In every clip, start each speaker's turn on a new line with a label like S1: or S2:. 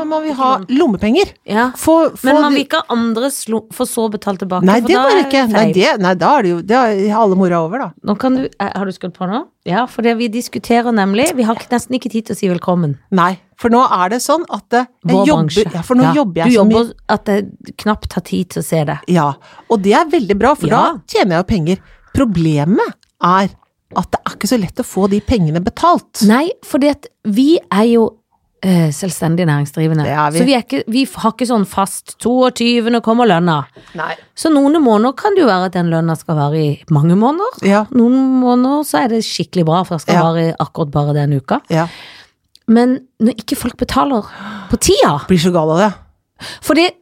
S1: man vil ha lommepenger.
S2: Ja.
S1: Få, få
S2: Men man vil
S1: de-
S2: ikke ha andres lo for så betalt tilbake.
S1: Nei,
S2: for
S1: det
S2: da
S1: går
S2: er
S1: ikke.
S2: feil.
S1: Nei, det, nei, da er det jo det er alle mora over, da.
S2: Nå kan du, eh, har du skrudd på nå? Ja, for det vi diskuterer nemlig Vi har ikke- nesten ikke tid til å si velkommen.
S1: Nei. For nå er det sånn at eh, jeg
S2: Vår
S1: jobber
S2: bransje.
S1: ja, For nå
S2: Ja,
S1: jobber jeg
S2: du
S1: så mye.
S2: jobber at jeg knapt har tid til å se det.
S1: Ja. Og det er veldig bra, for
S2: Ja.
S1: da tjener jeg jo penger. Problemet er at det er ikke så lett å få de pengene betalt.
S2: Nei, for vi er jo eh, selvstendig næringsdrivende.
S1: Det er vi.
S2: Så vi, er ikke, vi har ikke sånn fast 22. kommer lønna.
S1: Nei.
S2: Så noen måneder kan det jo være at den lønna skal vare i mange måneder.
S1: Ja.
S2: Noen måneder så er det skikkelig bra, for det skal
S1: Ja.
S2: vare akkurat bare den uka.
S1: ja.
S2: Men når ikke folk betaler på tida
S1: Blir så gal av det.
S2: For det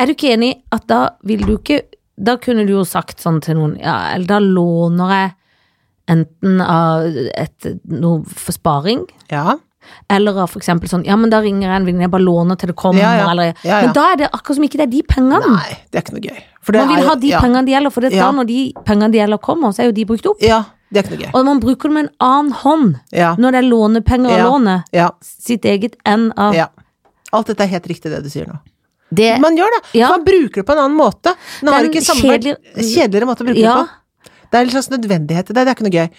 S2: er du ikke enig i at da vil du ikke Da kunne du jo sagt sånn til noen Ja, eller da låner jeg enten av et, noe for sparing,
S1: Ja.
S2: eller av for eksempel sånn Ja, men da ringer jeg en venninne, jeg bare låner til det kommer,
S1: Ja, ja.
S2: eller
S1: Ja, ja.
S2: Men da er det akkurat som ikke det er de pengene.
S1: Nei, det er ikke noe gøy. For det
S2: Mm. Man
S1: er
S2: vil
S1: jo-
S2: ha de
S1: ja.
S2: pengene det gjelder, for det er
S1: Ja.
S2: da når de pengene det gjelder kommer, så er jo de brukt opp.
S1: Ja, det er ikke noe gøy.
S2: Og man bruker det med en annen hånd
S1: Ja.
S2: når det er lånepenger og
S1: Ja.
S2: låne.
S1: ja.
S2: Sitt eget enn av
S1: ja. Alt dette er helt riktig, det du sier nå.
S2: det.
S1: Man gjør det.
S2: Eh, Ja.
S1: Man bruker det på en annen måte. Man
S2: Det er
S1: har
S2: en
S1: ikke samme verdi-
S2: kjedelig-
S1: kjedeligere måte å bruke
S2: Ja.
S1: det på. Det er en slags nødvendighet i det. Det er ikke noe gøy.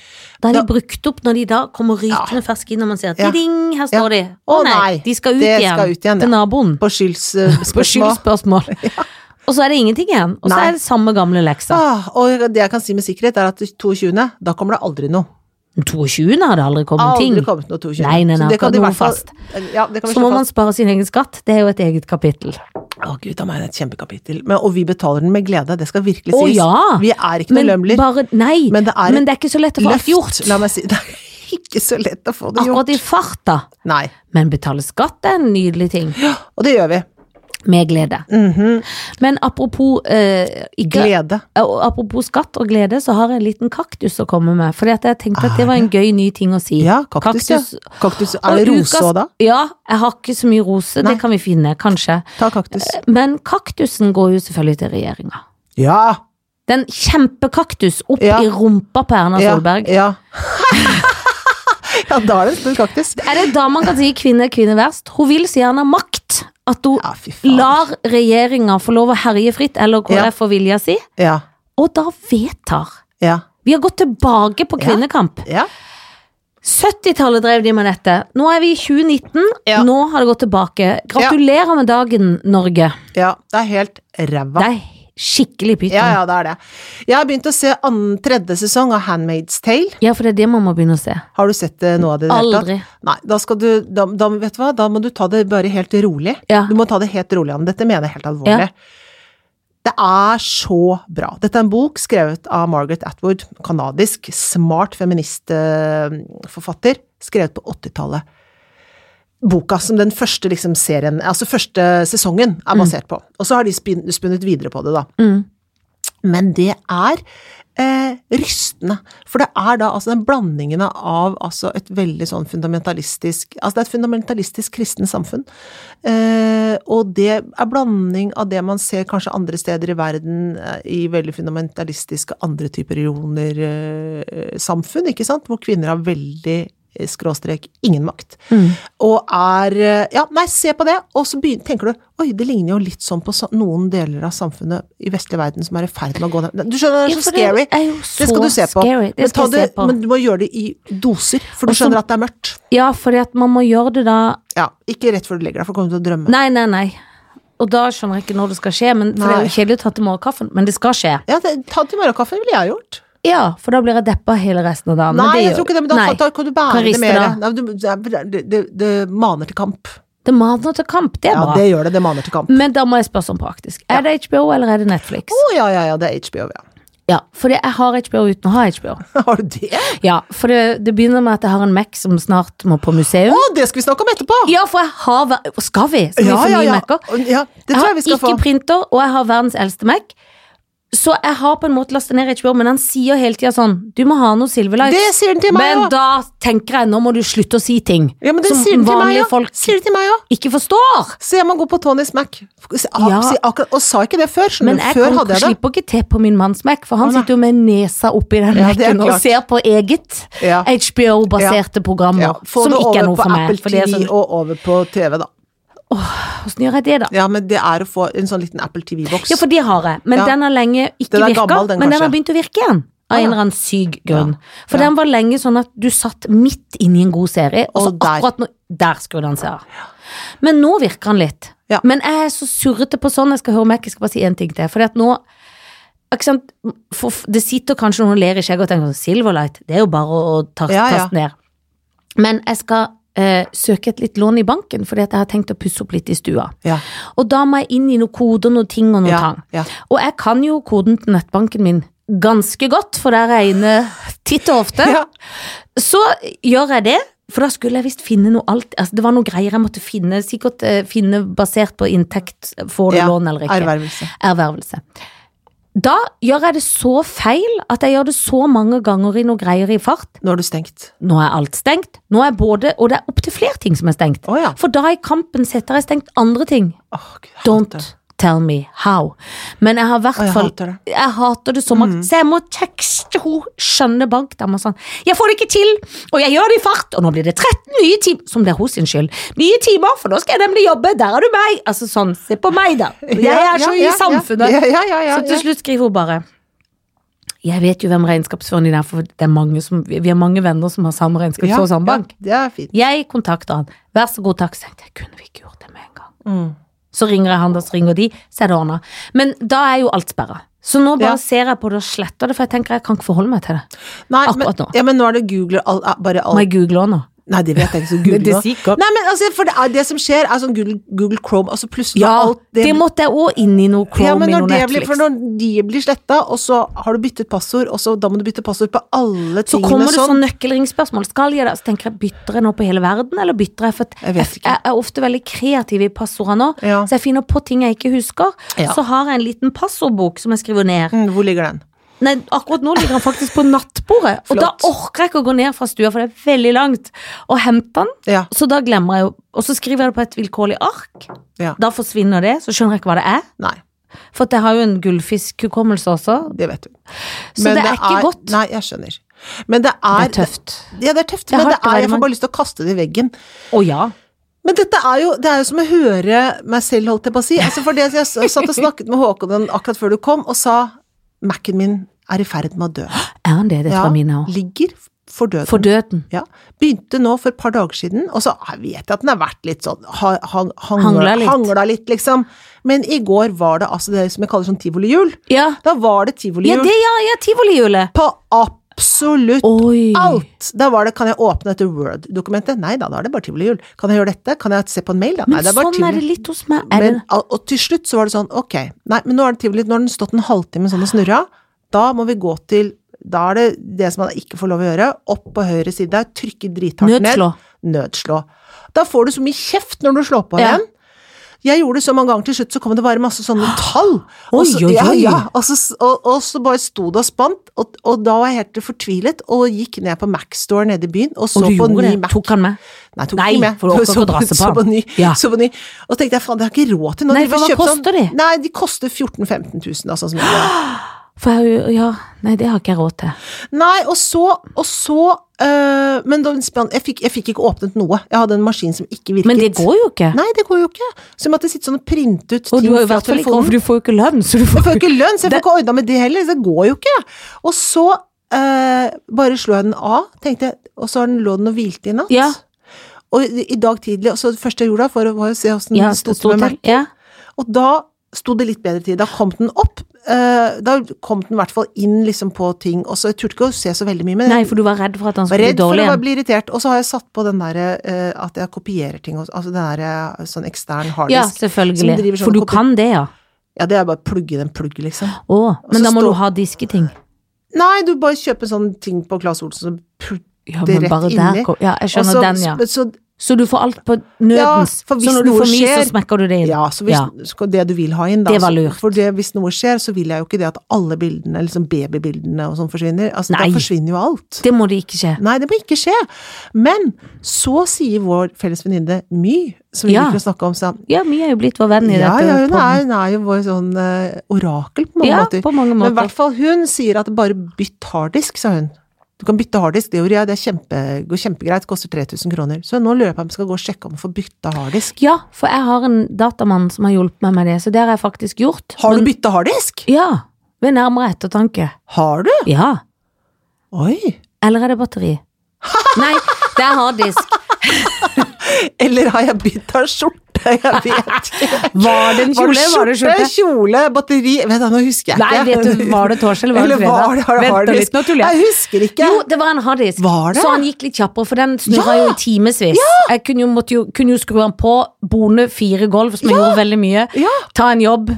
S2: Da er de
S1: Da-
S2: brukt opp når de da kommer rykende ferske inn og man ser at
S1: Ja.
S2: ding, her står de. Å
S1: Å
S2: nei,
S1: nei,
S2: de skal ut
S1: det
S2: igjen,
S1: skal ut igjen, ja.
S2: til naboen.
S1: På eh, skyldspørsmål.
S2: På skyldspørsmål. Og så er det ingenting igjen. Og så
S1: Nei.
S2: er det samme gamle leksa.
S1: Ah, og det jeg kan si med sikkerhet, er at 22. da kommer det aldri noe.
S2: Den 22. har det aldri kommet
S1: Aldri
S2: ting.
S1: kommet noe 22.
S2: Nei, nei, nei,
S1: Så det kan
S2: akkurat
S1: de i
S2: noe
S1: hvert fall- Eh,
S2: fast.
S1: Ja, det kan vi
S2: Så må
S1: slå
S2: man
S1: fast.
S2: spare sin egen skatt. Det er jo et eget kapittel.
S1: Å gud, da må jeg ha et kjempekapittel. Men, og vi betaler den med glede, det skal virkelig
S2: Å
S1: sies.
S2: ja!
S1: Vi er ikke noe lømler.
S2: bare Nei,
S1: Men det er et
S2: ikke så lett å få alt gjort.
S1: La meg si, det er ikke så lett å få det gjort.
S2: Akkurat i farta.
S1: Nei.
S2: Men betale skatt er en nydelig ting.
S1: Og det gjør vi.
S2: Med glede.
S1: Mhm.
S2: Men apropos eh, ikke,
S1: Glede.
S2: Og Apropos skatt og glede, så har jeg en liten kaktus å komme med. Fordi at jeg tenkte at det var en gøy ny ting å si.
S1: Ja, kaktus, ja. Kaktus. Er det
S2: Og
S1: rose
S2: ukas-
S1: òg, da?
S2: Ja, jeg har ikke så mye rose,
S1: Nei.
S2: det kan vi finne, kanskje.
S1: Ta kaktus.
S2: Men kaktusen går jo selvfølgelig til regjeringa.
S1: Ja!
S2: Den kjempekaktus opp
S1: Ja.
S2: i rumpa på Erna
S1: Ja,
S2: Solberg.
S1: ja. ja, da er det en stor kaktus.
S2: Er det da man kan si kvinne, kvinne verst? Hun vil så gjerne ha makt. At hun
S1: Ja, fy faen.
S2: lar regjeringa få lov å herje fritt, eller
S1: Ja.
S2: KrF og vilja si,
S1: Ja,
S2: og da vedtar.
S1: ja,
S2: Vi har gått tilbake på
S1: Ja.
S2: kvinnekamp.
S1: ja.
S2: 70-tallet drev de med dette. Nå er vi i 2019.
S1: Ja.
S2: Nå har det gått tilbake. Gratulerer med dagen, Norge.
S1: ja. Det er helt ræva.
S2: Det er skikkelig pyton.
S1: Ja,
S2: Ja,
S1: ja, det er det. Jeg har begynt å se annen, tredje sesong av Handmaid's Tale.
S2: for det er det man må begynne å se.
S1: Har du sett eh, noe av det? i det hele tatt?
S2: Aldri.
S1: Nei, da skal du da, da, Vet du hva, da må du ta det bare helt rolig.
S2: Ja.
S1: Du må ta det helt rolig, Anne. Dette mener jeg helt alvorlig. Det er så bra. Dette er en bok skrevet av Margaret Atwood, kanadisk, smart feministforfatter, skrevet på 80-tallet. Boka som den første liksom, serien, altså første sesongen, er basert på. Og så har de spin- spunnet videre på det, da.
S2: Mm.
S1: Men det er eh, rystende. For det er da altså den blandingen av altså et veldig sånn fundamentalistisk Altså det er et fundamentalistisk kristen samfunn. Eh, og det er blanding av det man ser kanskje andre steder i verden eh, i veldig fundamentalistiske andre typer religioner, eh, samfunn, ikke sant? Hvor kvinner har veldig eh, skråstrek ingen makt.
S2: Mm.
S1: Og er eh, Ja, nei, se på det! Og så begyn- tenker du oi, det ligner jo litt sånn på sa- noen deler av samfunnet i vestlig verden som er i ferd med å gå ned Du skjønner, det er
S2: Ja, for
S1: så scary.
S2: Det er jo så
S1: Det skal du se på.
S2: Scary. Det
S1: Men, ta
S2: skal jeg
S1: det,
S2: se på.
S1: men du må gjøre det i doser, for du
S2: Og så-
S1: skjønner at det er mørkt.
S2: Ja, fordi at man må gjøre det da
S1: Ja, ikke rett før du legger deg, for du kommer til å drømme.
S2: Nei, nei, nei. Og da skjønner jeg ikke når det skal skje, men for det er
S1: Nei.
S2: jo kjedelig å ta til morgenkaffen. Men det skal skje.
S1: Ja, det, ta til morgenkaffen ville jeg gjort.
S2: Ja, for da blir jeg deppa hele resten av dagen.
S1: Nei,
S2: men det
S1: jeg tror ikke det, men da,
S2: Nei.
S1: da kan du bære
S2: Kan riste
S1: det mer.
S2: da.
S1: Nei, du- det, det, det, det maner til kamp.
S2: Det maner til kamp, det er
S1: Ja,
S2: bra.
S1: det gjør det. Det maner til kamp.
S2: Men da må jeg spørre sånn praktisk. Er det HBO eller er det Netflix?
S1: Å ja, ja, ja, det er HBO, ja.
S2: Ja, fordi jeg har HBO uten å ha HBO.
S1: Har du det?
S2: Ja, for det, det begynner med at jeg har en Mac som snart må på museum.
S1: Å, det skal vi snakke om etterpå!
S2: Ja, for jeg har ver- Skal vi? Skal vi få nye Mac-er?
S1: ja, det tror jeg vi skal
S2: har
S1: få.
S2: ikke printer, og jeg har verdens eldste Mac. Så jeg har på en måte lastet ned HBO, men han sier hele tida sånn Du må ha noe Silverlight.
S1: Det sier den til meg
S2: Men
S1: òg!
S2: da tenker jeg, nå må du slutte å si ting
S1: Ja, men det
S2: som
S1: sier den til meg
S2: vanlige
S1: òg!
S2: folk
S1: Sier det til meg òg!
S2: ikke forstår.
S1: Så jeg må gå på Tonys Mac. Se- ak-
S2: Ja.
S1: si akkurat, og sa ikke det før, skjønner du.
S2: Men jeg
S1: Før
S2: kan-
S1: hadde jeg det.
S2: slipper ikke til på min manns Mac, for han
S1: Å, nei.
S2: sitter jo med nesa oppi
S1: Ja,
S2: den
S1: det er
S2: Mac-en og
S1: klart.
S2: ser på eget
S1: Ja.
S2: HBO-baserte programmer
S1: Ja, få
S2: som
S1: det
S2: ikke er
S1: over
S2: noe
S1: på
S2: for meg.
S1: Apple
S2: For det er
S1: TV
S2: sånn,
S1: og over på TV, da.
S2: Åssen gjør jeg det, da?
S1: Ja, men det er å få en sånn liten Apple TV-boks.
S2: Ja, for de har jeg, men
S1: Ja.
S2: den har lenge ikke
S1: Den er
S2: virka.
S1: gammel, den,
S2: men den
S1: kanskje.
S2: har begynt å virke
S1: Å,
S2: igjen. Av
S1: ja.
S2: en eller annen syk grunn.
S1: Ja.
S2: For
S1: Ja.
S2: den var lenge sånn at du satt midt inne i en god serie, og så
S1: Og så der.
S2: akkurat nå Der skrudde han seg av. Men nå virker han litt.
S1: Ja.
S2: Men jeg er så surrete på sånn. Jeg skal høre om jeg ikke skal bare si én ting til. Fordi at nå ikke sant? For, det sitter kanskje noen og ler i skjegget og tenker sånn Silverlight, det er jo bare å, å ta,
S1: Ja, ja.
S2: taste ned. Men jeg skal eh, søke et litt lån i banken, fordi at jeg har tenkt å pusse opp litt i stua.
S1: Ja,
S2: Og da må jeg inn i noen koder, noen ting og noen
S1: ja,
S2: tang.
S1: ja.
S2: Og jeg kan jo koden til nettbanken min ganske godt, for der er jeg inne titt og ofte.
S1: Ja.
S2: Så gjør jeg det, for da skulle jeg visst finne noe alt altså, Det var noe greier jeg måtte finne, sikkert eh, finne basert på inntekt, får du
S1: Ja,
S2: lån eller ikke.
S1: Ervervelse.
S2: Ervervelse. Da gjør jeg det så feil at jeg gjør det så mange ganger i noe greier i fart.
S1: Nå er du stengt.
S2: Nå er alt stengt, nå er både Og det er opptil flere ting som er stengt.
S1: Å ja.
S2: For da i kampen setter jeg stengt andre ting.
S1: Åh, Gud, jeg hater det.
S2: Don't tell me how. Men jeg har i
S1: Å,
S2: hvert
S1: jeg
S2: fall
S1: hater det. Mm.
S2: Jeg hater det så makt. Så jeg må tekste henne, skjønne bankdama sånn. Jeg får det ikke til, og jeg gjør det i fart, og nå blir det 13 nye timer Som det er hos sin skyld. Nye timer, for nå skal jeg nemlig jobbe, der er du meg. Altså sånn, se på meg, da. Jeg
S1: Ja,
S2: er så
S1: ja,
S2: i samfunnet.
S1: Ja, ja, ja, ja,
S2: Så til
S1: ja.
S2: slutt skriver hun bare Jeg vet jo hvem regnskapsføreren din er, for det er mange som, vi har mange venner som har samme regnskapsfører og samme sånn bank.
S1: Ja, det er fint.
S2: Jeg kontakter han. Vær så god, takk. Så tenkte jeg, kunne vi ikke gjort det med en gang?
S1: Mm.
S2: Så ringer jeg han, da så ringer de, så er det ordna. Men da er jo alt sperra. Så nå bare
S1: Ja.
S2: ser jeg på det og sletter det, for jeg tenker jeg kan ikke forholde meg til det.
S1: Nei,
S2: Akkurat
S1: men,
S2: nå.
S1: ja, men nå er det Google all, all- bare all,
S2: Må jeg google også nå?
S1: Nei, det vet jeg ikke, så Google nå.
S2: sikkert.
S1: Nei, men altså, for det, er, det som skjer, er sånn Google, Google Chrome altså Plutselig
S2: Ja,
S1: alt
S2: det, måtte jeg òg inn i noe Chrome
S1: ja, men
S2: i
S1: når
S2: noe
S1: det blir,
S2: Netflix.
S1: for når de blir sletta, og så har du byttet passord, og så da må du bytte passord på alle
S2: så
S1: tingene
S2: kommer det sånn nøkkelringspørsmål. Skal jeg det? Så tenker jeg, bytter jeg nå på hele verden, eller bytter jeg? For at
S1: Jeg vet ikke.
S2: jeg er ofte veldig kreativ i passordene nå,
S1: Ja.
S2: så jeg finner på ting jeg ikke husker.
S1: Ja.
S2: Så har jeg en liten passordbok som jeg skriver ned.
S1: Mm, Hvor ligger den?
S2: Nei, akkurat nå ligger han faktisk på nattbordet, og da
S1: Flott.
S2: orker jeg ikke å gå ned fra stua, for det er veldig langt, og hente han.
S1: Ja.
S2: Så da glemmer jeg jo, og så skriver jeg det på et vilkårlig ark.
S1: Ja.
S2: Da forsvinner det, så skjønner jeg ikke hva det er.
S1: Nei,
S2: For at jeg har jo en gullfiskhukommelse også,
S1: det vet du.
S2: så det, er ikke godt.
S1: Nei, jeg skjønner. Men det
S2: det
S1: er,
S2: er tøft.
S1: Ja, det er tøft,
S2: Det er
S1: men det
S2: hardt å
S1: er,
S2: være
S1: jeg
S2: mann.
S1: får bare lyst til å kaste det i veggen.
S2: Å ja.
S1: Men dette er jo, det er jo som å høre meg selv, holdt jeg på å si. Altså for det, jeg s- satt og snakket med Håkon akkurat før du kom, og sa Mac-en min er i ferd med å dø.
S2: Er han det? Det tror jeg mine òg.
S1: ligger for døden.
S2: For døden.
S1: Ja. Begynte nå for et par dager siden, og så vet jeg at den har vært litt sånn ha, hang, hangla,
S2: Hangla
S1: hangla,
S2: litt.
S1: litt. liksom. Men i går var det altså det som jeg kaller sånn tivolihjul.
S2: Ja,
S1: Da var det
S2: ja
S1: tivolihjul
S2: det, ja, ja, tivolihjulet.
S1: på absolutt
S2: Oi.
S1: alt! Da var det 'kan jeg åpne dette Word-dokumentet'? Nei da, da er det bare tivolihjul. Kan jeg gjøre dette? Kan jeg se på en mail? Da?
S2: Men
S1: Nei, det er bare
S2: sånn er det
S1: tivoli.
S2: litt hos meg. Er
S1: Men, al- og til slutt så var det sånn, ok, nei, men nå er det tivoli, nå har den stått en halvtime sånn og snurra, da må vi gå til da er det det som man ikke får lov å gjøre, opp på høyre side, trykke
S2: det
S1: drithardt ned.
S2: nødslå?
S1: Nødslå. Da får du så mye kjeft når du slår på
S2: Ja.
S1: igjen. Jeg gjorde det så mange ganger, til slutt så kom det bare masse sånne tall. Og så,
S2: Oi, oi,
S1: ja,
S2: oi.
S1: ja, og så, og, og så bare sto det og spant, og, og da var jeg helt fortvilet, og gikk ned på Mac-store nede i byen, og så
S2: Og du
S1: på
S2: gjorde
S1: ny
S2: det?
S1: Mac.
S2: Tok han med?
S1: Nei, tok
S2: Nei,
S1: ikke med.
S2: for du orker
S1: Så-
S2: ikke å dra seg på
S1: så
S2: den.
S1: ny,
S2: Ja.
S1: så på ny. Og så tenkte jeg, faen, det har jeg ikke råd til nå.
S2: Nei,
S1: Dere får
S2: hva
S1: kjøpe sånn-
S2: koster de?
S1: Nei, de koster 14 000-15 000, altså. Som jeg gjør.
S2: For jeg, har jo- ja, nei, det har ikke jeg råd til.
S1: nei, og så, og så øh, Men da, jeg, fikk, jeg fikk ikke åpnet noe. Jeg hadde en maskin som ikke virket.
S2: Men det går jo ikke.
S1: Nei, det går jo ikke. Så jeg måtte sitte sånn og printe ut
S2: Og du
S1: ting
S2: har jo i
S1: fra
S2: hvert fall ikke,
S1: telefonen.
S2: for du får jo ikke lønn, så du
S1: Jeg
S2: får
S1: får jo ikke lønn, så jeg får ikke ordna med det heller. Så det går jo ikke. Og så øh, bare slo jeg den av, tenkte jeg, og så har den lå den og hvilte i natt.
S2: Ja.
S1: Og i, i dag tidlig, og så det første jeg gjorde da, for å- var å se åssen
S2: Ja,
S1: det sto til med Mac.
S2: Ja.
S1: Og da sto det litt bedre til. Da kom den opp. eh, da kom den i hvert fall inn liksom på ting. Og så jeg turte ikke å se så veldig mye, men
S2: Nei,
S1: jeg
S2: for du var redd for at han
S1: var
S2: skulle bli
S1: redd for
S2: dårlig
S1: å bare
S2: igjen.
S1: bli irritert. Og så har jeg satt på den derre at jeg kopierer ting, og- altså den derre sånn ekstern
S2: Ja,
S1: harddisk. Ja. som
S2: selvfølgelig.
S1: driver sånn
S2: For du
S1: kopi-
S2: kan det, ja.
S1: det er bare å plugge i den plugg, liksom.
S2: Å, men
S1: så
S2: da
S1: står-
S2: må du ha disketing.
S1: Nei, du bare kjøper sånne ting på Claes Olsen og
S2: Ja,
S1: Det er
S2: men
S1: rett
S2: bare der
S1: inni.
S2: kom Ja, jeg skjønner den, ja.
S1: så,
S2: Så du får alt på nødens.
S1: Ja, for hvis
S2: så når du
S1: noe
S2: får mye, så
S1: skjer-
S2: smekker du det inn.
S1: Ja, så hvis,
S2: Ja.
S1: skal det du vil ha inn, da.
S2: Det var
S1: så-
S2: lurt.
S1: For det, hvis noe skjer, så vil jeg jo ikke det at alle bildene, liksom babybildene og sånn forsvinner. Altså,
S2: Nei.
S1: da forsvinner jo alt.
S2: Det må det ikke skje.
S1: Nei, det må ikke skje. Men så sier vår felles venninne My, som vi
S2: Ja.
S1: liker å snakke om, sa
S2: Ja, vi er jo blitt vår venn i
S1: ja,
S2: dette.
S1: ja, hun
S2: podden.
S1: er, hun er jo vår sånn eh, orakel på mange
S2: ja,
S1: måter.
S2: på mange
S1: Men i
S2: måter.
S1: hvert fall hun sier at bare bytt harddisk, sa hun. Du kan bytte harddisk, det gjorde jeg, det er kjempe, går kjempegreit, koster 3000 kroner. Så nå lurer jeg på om jeg skal gå og sjekke om jeg får bytte harddisk.
S2: Ja, for jeg har en datamann som har hjulpet meg med det, så det har jeg faktisk gjort.
S1: Har du
S2: Men-
S1: bytta harddisk?
S2: Ja. Ved nærmere ettertanke.
S1: Har du?
S2: Ja.
S1: Oi!
S2: Eller er det batteri? Nei, det er harddisk.
S1: Eller har jeg bytta skjorte? Jeg vet ikke.
S2: Var det
S1: Var
S2: en
S1: det
S2: kjole? Var det
S1: skjorte,
S2: skjorte?
S1: kjole, batteri Vet du, nå husker jeg
S2: Nei,
S1: ikke.
S2: vet du, var det torsdag eller var det
S1: Eller
S2: fredag?
S1: var det, har det
S2: Vent
S1: harddisk?
S2: litt, nå tuller jeg.
S1: Jeg husker ikke.
S2: Jo, det var en harddisk.
S1: Var det?
S2: Så han gikk litt kjappere, for den snurra
S1: Ja!
S2: jo i timevis. Jeg kunne jo, måtte jo, kunne jo skru han på, bone fire gulv, som jeg gjorde veldig mye.
S1: Ja.
S2: Ta en jobb,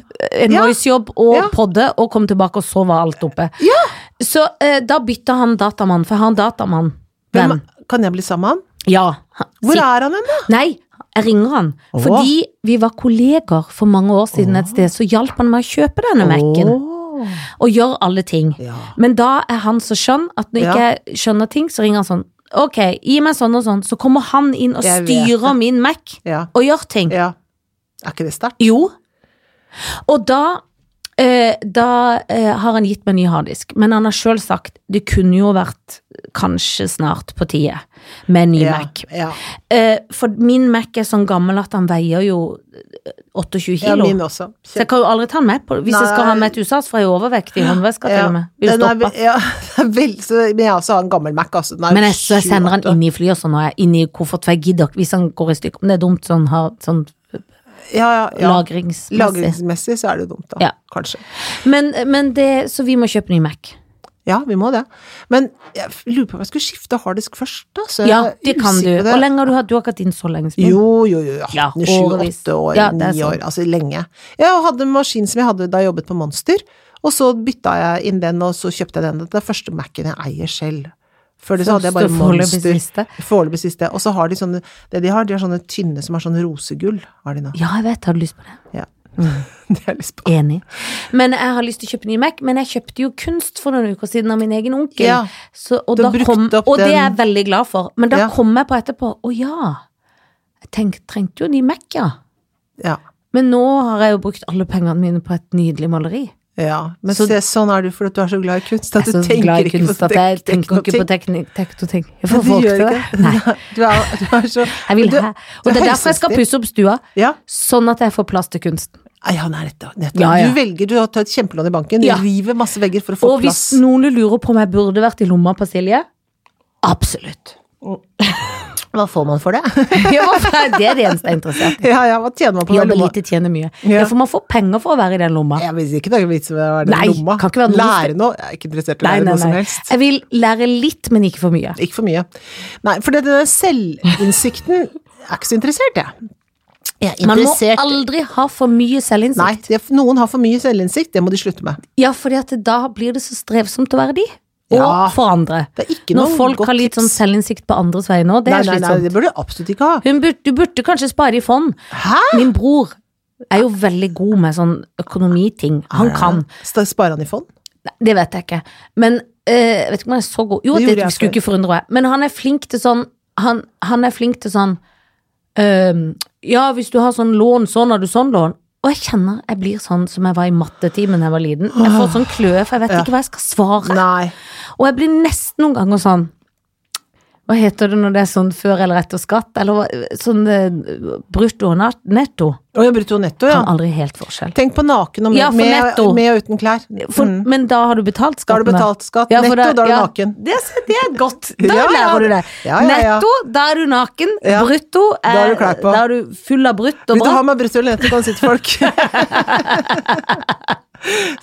S2: en
S1: Ja.
S2: Voice-jobb, og
S1: Ja.
S2: podde, og kom tilbake, og så var alt oppe.
S1: Ja.
S2: Så eh, da bytta han datamann, for jeg har en datamann.
S1: Hvem,
S2: Men,
S1: kan jeg bli sammen med han?
S2: ja. han-
S1: Hvor
S2: si-
S1: er han hen, da?
S2: Nei, jeg ringer han.
S1: Åh.
S2: Fordi vi var kolleger for mange år siden et sted, så hjalp han meg å kjøpe denne Mac-en.
S1: Åh.
S2: Og gjøre alle ting.
S1: Ja.
S2: Men da er han så skjønn at når
S1: Ja.
S2: ikke jeg skjønner ting, så ringer han sånn. Ok, gi meg sånn og sånn. Så kommer han inn og
S1: Jeg vet
S2: styrer min Mac
S1: ja.
S2: og gjør ting.
S1: Ja. Er ikke det sterkt?
S2: Jo. Og da eh, Da eh, har han gitt meg ny harddisk. Men han har sjøl sagt det kunne jo vært kanskje snart på tide med en ny
S1: Ja.
S2: Mac.
S1: Ja.
S2: Eh, for min Mac er sånn gammel at han veier jo eh, 28
S1: ja,
S2: kilo.
S1: min også.
S2: så jeg kan jo aldri ta han med på Hvis jeg skal ha han med til USA, så får jeg jo overvekt i håndveska til
S1: Ja.
S2: og med. Blir jo
S1: Den er,
S2: stoppet.
S1: ve- ja, den er vel, så, men jeg også har en gammel Mac. Altså, den er
S2: Men jeg, så jeg sender han
S1: 28.
S2: inn i flyet og sånn, og jeg inn i koffert, for jeg gidder ikke hvis han går i stykker. Om det er dumt sånn, har sånn
S1: ja, ja, ja.
S2: lagringsmessig.
S1: Lagringsmessig så er det dumt, da.
S2: Ja.
S1: Kanskje.
S2: Men, men det Så vi må kjøpe ny Mac.
S1: Ja, vi må det. Men jeg f- lurer på om jeg skulle skifte harddisk først, da. Så
S2: Ja,
S1: jeg er
S2: det kan du.
S1: usikker på det.
S2: Hvor lenge har du hatt Du har ikke hatt din så lenge? Espen.
S1: Jo, jo, jo. Jeg har
S2: Mm. Ja,
S1: hatt den i sju,
S2: årevis.
S1: åtte år,
S2: Ja, det er
S1: ni år. Altså lenge. Jeg hadde en maskin som jeg hadde da jeg jobbet på Monster, og så bytta jeg inn den, og så kjøpte jeg den. Dette er den første Mac-en jeg eier selv. Før det så hadde jeg bare
S2: Første og foreløpig
S1: Monster.
S2: siste.
S1: Foreløpig siste. Og så har de sånne Det de har, de har sånne tynne som er sånn rosegull, har de nå.
S2: Ja, jeg vet. Har du lyst på det?
S1: Ja.
S2: Mm.
S1: Det har jeg lyst på.
S2: Enig. Men jeg har lyst til å kjøpe ny Mac, men jeg kjøpte jo kunst for noen uker siden av min egen onkel.
S1: Ja.
S2: Så, og,
S1: Du
S2: da
S1: har brukt
S2: kom,
S1: opp
S2: og det
S1: den-
S2: er jeg veldig glad for. Men da
S1: Ja.
S2: kom jeg på etterpå, å ja, jeg tenk, trengte jo en ny Mac, ja.
S1: Ja.
S2: Men nå har jeg jo brukt alle pengene mine på et nydelig maleri.
S1: ja. Men
S2: Så-
S1: se, sånn er du fordi at du er så glad i kunst at
S2: Jeg
S1: du
S2: er så glad
S1: tenker
S2: i
S1: ikke på
S2: kunst at jeg tenker ikke
S1: teknologi.
S2: på teknikk, teknoting. Jeg
S1: Du
S2: får folk
S1: gjør
S2: til det.
S1: ikke
S2: Nei,
S1: Du er, du er så
S2: jeg vil
S1: du-
S2: ha.
S1: du
S2: Og det er derfor
S1: helsestri-
S2: jeg skal pusse opp stua,
S1: Ja.
S2: sånn at jeg får plass til kunsten.
S1: Ah, Ja, nei, nettopp. nettopp.
S2: Ja, ja.
S1: Du velger, du har tatt kjempelån i banken,
S2: Ja.
S1: du river masse vegger for å få
S2: Og
S1: plass.
S2: hvis noen lurer på om jeg burde vært i lomma på Silje, absolutt.
S1: Hva får man for det?
S2: Ja, det er det eneste jeg er interessert i.
S1: ja, ja, hva tjener man på den
S2: Jobbe
S1: lomma?
S2: lite, tjene mye.
S1: Ja.
S2: Ja. for man får penger for å være i den lomma.
S1: Jeg vil ikke det er vits i å være
S2: Nei,
S1: i lomma.
S2: kan ikke være noe
S1: lære noe? Jeg er ikke interessert i å
S2: Nei,
S1: lære
S2: nei,
S1: noe som
S2: nei.
S1: helst.
S2: Jeg vil lære litt, men ikke for mye.
S1: Ikke for mye. Nei, for denne selvinnsikten jeg er ikke så interessert, jeg. Jeg er
S2: Man må aldri ha for mye selvinnsikt.
S1: Nei, det, noen har for mye selvinnsikt, det må de slutte med.
S2: Ja, fordi at da blir det så strevsomt å være de. Og
S1: Ja.
S2: for andre.
S1: Det er ikke
S2: Når
S1: noe
S2: folk
S1: godt
S2: har litt sånn
S1: tips.
S2: selvinnsikt på andres vegne òg, det
S1: Nei,
S2: er
S1: nei, nei,
S2: slitsomt.
S1: det burde du absolutt ikke ha.
S2: Hun burde, du burde kanskje spare i fond.
S1: Hæ?
S2: Min bror er jo veldig god med sånn økonomiting. Han kan.
S1: Sta- Sparer han i fond?
S2: Nei, det vet jeg ikke. Men øh, vet ikke om han er så god Jo,
S1: Det
S2: det,
S1: gjorde jeg
S2: skulle
S1: før.
S2: ikke forundre meg. Men han er flink til sånn Han, han er flink til sånn øhm, Ja, hvis du har sånn lån, sånn har du sånn lån. Og jeg kjenner jeg blir sånn som jeg var i mattetimen da jeg var liten. Jeg får sånn kløe, for jeg vet
S1: Ah. Ja.
S2: ikke hva jeg skal svare.
S1: Nei.
S2: Og jeg blir nesten noen ganger sånn Hva heter det når det er sånn før eller etter skatt? Eller hva- sånn øh, brutto og nat- netto?
S1: Å ja, brutto netto, ja.
S2: Kan aldri helt forskjell.
S1: Tenk på naken og med,
S2: Ja, for
S1: med,
S2: netto.
S1: med og uten klær.
S2: For,
S1: Mm.
S2: Men da har du betalt
S1: Da har
S2: skatten?
S1: du betalt skatt.
S2: Ja, for
S1: netto, da, er du
S2: ja,
S1: naken.
S2: Det, det er godt. Da
S1: Ja, ja.
S2: lærer du det.
S1: Ja, ja, ja.
S2: Netto, da er du naken.
S1: Ja.
S2: Brutto,
S1: Da har du
S2: eh,
S1: klær på.
S2: da er du full av brutt og
S1: Vil du
S2: bra.
S1: ha meg brutto eller netto, kan du si til folk.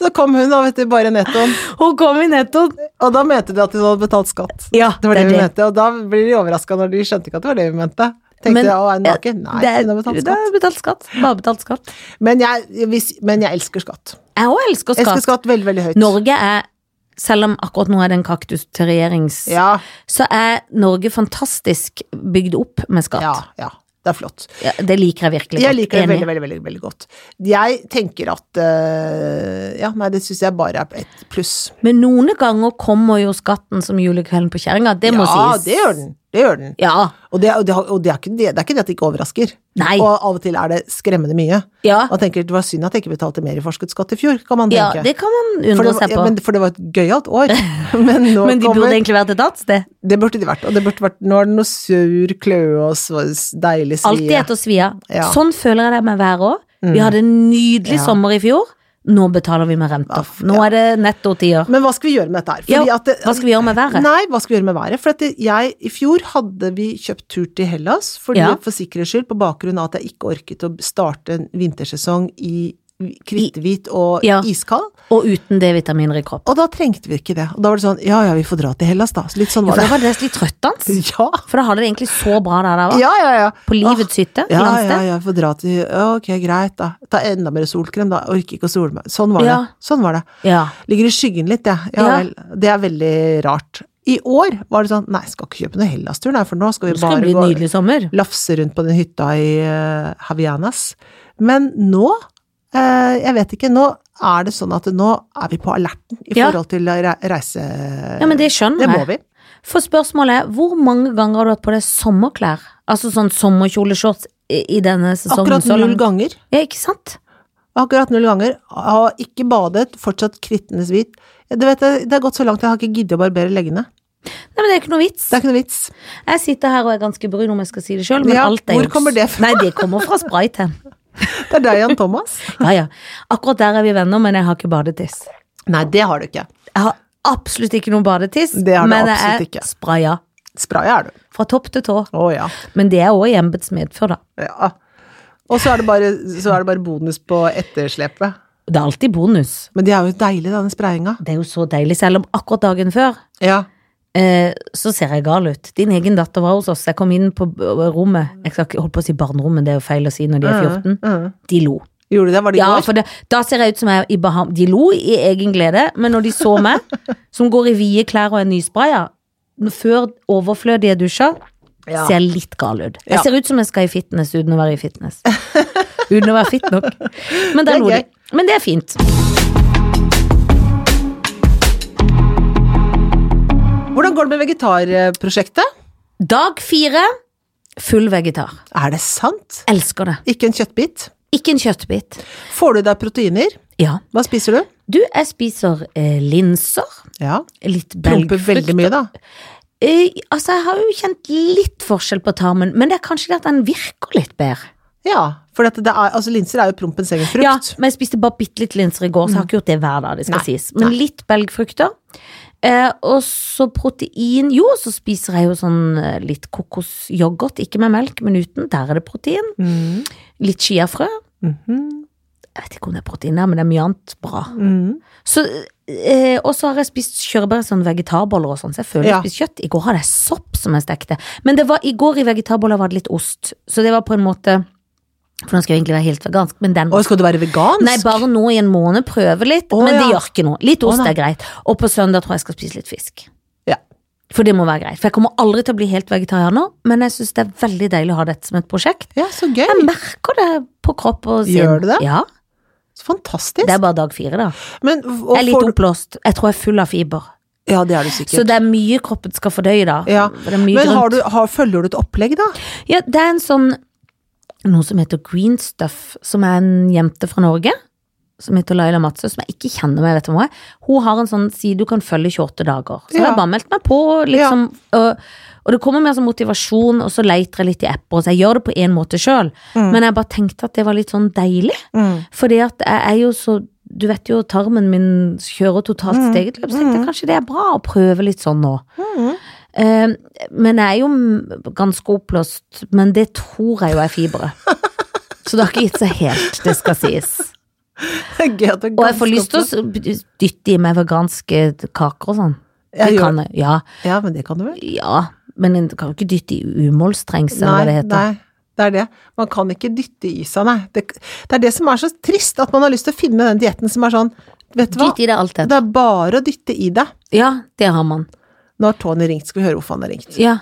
S1: så kom hun, da, vet du, bare nettoen.
S2: Hun kom i netto.
S1: Og da mente de at hun hadde betalt skatt.
S2: Ja,
S1: Det var det vi mente, og da blir de overraska når de skjønte ikke at det var det vi mente. Tenkte
S2: Men-
S1: jeg, å, er hun naken? Nei,
S2: det er-
S1: hun har betalt
S2: Da
S1: skatt.
S2: har du betalt skatt. Bare betalt skatt.
S1: Men jeg, hvis, men jeg elsker skatt.
S2: Jeg òg elsker
S1: Jeg
S2: skatt.
S1: elsker skatt veldig, veldig høyt.
S2: Norge er, selv om akkurat nå er det en kaktus til regjerings,
S1: Ja,
S2: så er Norge fantastisk bygd opp med skatt.
S1: ja, ja. Det er flott.
S2: Ja, det liker jeg virkelig godt.
S1: Jeg liker det veldig,
S2: Enig.
S1: veldig, veldig, veldig godt. Jeg tenker at eh, Ja, nei, det syns jeg bare er et pluss.
S2: Men noen ganger kommer jo skatten som julekvelden på kjerringa. Det må
S1: ja,
S2: sies.
S1: det gjør den. Det gjør den.
S2: Ja.
S1: Og, det, og, det, og det, er ikke, det, det er ikke det at det ikke overrasker.
S2: Nei.
S1: Og av og til er det skremmende mye.
S2: Ja.
S1: Man tenker det var synd at jeg ikke betalte mer i forskuddsskatt i fjor, kan man
S2: ja,
S1: tenke.
S2: det kan man
S1: for,
S2: undre
S1: det, var-
S2: seg
S1: ja,
S2: på.
S1: men, for det var et gøyalt år. Men nå
S2: Men de
S1: kommer
S2: burde egentlig vært et annet sted.
S1: Det burde de vært. Og det burde vært Nå er det noe sur kløe og så deilig
S2: Alltid
S1: svie.
S2: etter svia.
S1: Ja. Mm.
S2: Sånn føler jeg det med været òg. Vi hadde en nydelig
S1: Ja.
S2: sommer i fjor. Nå betaler vi med renter.
S1: Aff,
S2: Nå
S1: ja.
S2: er det nettotider.
S1: Men hva skal vi gjøre med dette her?
S2: Ja,
S1: at det-
S2: Hva skal vi gjøre med været?
S1: Nei, hva skal vi gjøre med været? For at det- jeg, I fjor hadde vi kjøpt tur til Hellas fordi,
S2: Ja.
S1: for sikkerhets skyld, på bakgrunn av at jeg ikke orket å starte en vintersesong i kritthvit og
S2: Ja.
S1: iskald.
S2: Og uten D-vitaminer i kroppen.
S1: Og da trengte vi ikke det. Og da var det sånn ja ja, vi får dra til Hellas, da. Så litt sånn var
S2: Ja, for da
S1: det.
S2: var det litt trøttende.
S1: Ja,
S2: For da hadde det egentlig så bra der det var.
S1: ja, ja. ja.
S2: På livets hytte.
S1: Ja, ja,
S2: landsted.
S1: ja, vi får dra til ja, Ok, greit, da. Ta enda mer solkrem, da. Orker ikke å sole meg. Sånn var det.
S2: Ja.
S1: Sånn var det.
S2: Ja.
S1: Ligger i skyggen litt, jeg. Ja,
S2: Ja.
S1: vel. Det er veldig rart. I år var det sånn Nei, skal ikke kjøpe noe Hellas-tur, nei, for nå skal vi
S2: Det skal
S1: bare
S2: bli en
S1: gå
S2: nydelig sommer.
S1: lafse rundt på den hytta i eh, Havianas. Men nå eh, Jeg vet ikke. Nå er det sånn at nå er vi på alerten i
S2: Ja.
S1: forhold til re- reise...
S2: Ja, men sånn det skjønner
S1: det må
S2: jeg.
S1: vi.
S2: For spørsmålet er, hvor mange ganger har du hatt på deg sommerklær? Altså sånn sommerkjoleshorts i i denne sesongen?
S1: Akkurat
S2: så
S1: null
S2: langt?
S1: ganger.
S2: Ja, ikke sant?
S1: Akkurat null ganger. Har ikke badet, fortsatt krittende hvit. Du vet, det det har gått så langt, jeg har ikke giddet å barbere leggene.
S2: Nei, men det er ikke noe vits.
S1: Det er ikke noe vits.
S2: Jeg sitter her og er ganske brun om jeg skal si det sjøl, men
S1: Ja,
S2: alt er
S1: hvor
S2: juks.
S1: kommer det fra?
S2: Nei, det kommer fra sprayten.
S1: Det er deg, Jan Thomas.
S2: Ja, ja. Akkurat der er vi venner, men jeg har ikke badetiss.
S1: Nei, det har du ikke.
S2: Jeg har absolutt ikke noen badetiss,
S1: Det har du
S2: men
S1: absolutt
S2: jeg
S1: ikke.
S2: er spraya
S1: Spraya er du.
S2: fra topp til tå.
S1: Å ja.
S2: Men det er òg i embets medfør, da.
S1: ja. Og så er, det bare, så er det bare bonus på etterslepet.
S2: Det er alltid bonus.
S1: Men det er jo deilig, denne sprayinga.
S2: Det er jo så deilig, selv om akkurat dagen før
S1: Ja.
S2: eh, så ser jeg gal ut. Din egen datter var hos oss. Jeg kom inn på b- rommet. Jeg skal ikke holde på å si barnerommet, det er jo feil å si når de er 14.
S1: Mhm.
S2: De lo.
S1: Gjorde du det? Var det i
S2: Ja,
S1: går?
S2: for det, da ser jeg ut som jeg er i Baham... De lo i egen glede, men når de så meg, som går i vide klær og er nyspraya, før overflødige dusjer,
S1: Ja.
S2: ser jeg litt gal ut. Jeg
S1: Ja.
S2: ser ut som jeg skal i fitness uten å være i fitness. Uten å være fit nok. Men
S1: Det er
S2: da lo de.
S1: gøy.
S2: Men det er fint.
S1: Hvordan går det med vegetarprosjektet?
S2: Dag fire, full vegetar.
S1: Er det sant?
S2: Elsker det.
S1: Ikke en kjøttbit?
S2: Ikke en kjøttbit.
S1: Får du i deg proteiner?
S2: Ja.
S1: Hva spiser du?
S2: Du, jeg spiser eh, linser,
S1: Ja.
S2: litt
S1: Promper
S2: belgfrukt
S1: veldig mye, da.
S2: Eh, altså, jeg har jo kjent litt forskjell på tarmen, men det er kanskje det at den virker litt bedre.
S1: Ja. For dette, det er, altså, linser er jo prompens egen frukt. Mm.
S2: Ja, men jeg spiste bare bitte litt linser i går, så jeg har ikke gjort det hver dag, det skal
S1: Nei,
S2: sies. Men litt belgfrukter. Eh, og så protein Jo, så spiser jeg jo sånn eh, litt kokosyoghurt, ikke med melk, men uten. Der er det protein.
S1: Mhm.
S2: Litt chiafrø.
S1: Mhm.
S2: Jeg vet ikke om det er protein der, men det er mye annet bra.
S1: Mhm.
S2: Så, eh, og så har jeg spist kjørbær sånn vegetarboller og sånn, så jeg føler
S1: Ja.
S2: jeg spiser kjøtt. I går hadde jeg sopp som jeg stekte. Men det var, i går i vegetarboller var det litt ost, så det var på en måte For nå skal jeg egentlig være helt vegansk, men den
S1: Og skal du være vegansk?
S2: Nei, bare nå i en måned, prøve litt,
S1: Å,
S2: men det
S1: ja.
S2: gjør ikke noe. Litt
S1: Å,
S2: ost
S1: nei.
S2: er greit. Og på søndag tror jeg jeg skal spise litt fisk.
S1: Ja.
S2: For det må være greit. For jeg kommer aldri til å bli helt vegetarianer, men jeg syns det er veldig deilig å ha dette som et prosjekt.
S1: Ja, så gøy.
S2: Jeg merker det på kropp og sinn.
S1: Gjør du det?
S2: Ja.
S1: Så fantastisk.
S2: Det er bare dag fire, da.
S1: Men og får
S2: Jeg er litt
S1: du-
S2: oppblåst. Jeg tror jeg er full av fiber.
S1: Ja, det er du
S2: Så
S1: sikkert.
S2: det er mye kroppen skal fordøye, da.
S1: Ja,
S2: Det er mye
S1: Men har
S2: grønt.
S1: du, har, følger du et opplegg, da?
S2: Ja, det er en sånn Noe som heter Green Stuff, som er en jente fra Norge. Som heter Laila Matzø, som jeg ikke kjenner, men jeg vet hvem hun er. Hun har en sånn side du kan følge i 28 dager. Så
S1: Ja.
S2: jeg har bare meldt meg på, liksom. Og, og det kommer mer som motivasjon, og så leter jeg litt i apper, og så jeg gjør det på én måte sjøl.
S1: Mm.
S2: Men jeg bare tenkte at det var litt sånn deilig. Fordi at jeg er jo så Du vet jo tarmen min kjører totalt sitt eget løp, så tenkte jeg kanskje det er bra å prøve litt sånn nå.
S1: Mm.
S2: Eh, Men jeg er jo m- ganske oppblåst, men det tror jeg jo er fibre. Så det har ikke gitt seg helt, det skal sies.
S1: Gøy at du er
S2: Og jeg får
S1: ganske
S2: lyst til å
S1: opptatt.
S2: s- dytte i meg veganske kaker og sånn.
S1: Ja,
S2: Det
S1: gjør-
S2: kan jeg. Ja,
S1: Ja, men det kan du vel?
S2: ja. Men en kan jo ikke dytte i umålstrengsel, eller hva det
S1: Nei,
S2: heter.
S1: nei. Det er det. Man kan ikke dytte i seg, nei. Det, det er det som er så trist, at man har lyst til å finne den dietten som er sånn Vet du hva,
S2: Dytt i det alt
S1: det
S2: det.
S1: er bare å dytte i det.
S2: Ja, det har man.
S1: Nå har Tony ringt, skal vi høre hvorfor han har ringt.
S2: Ja.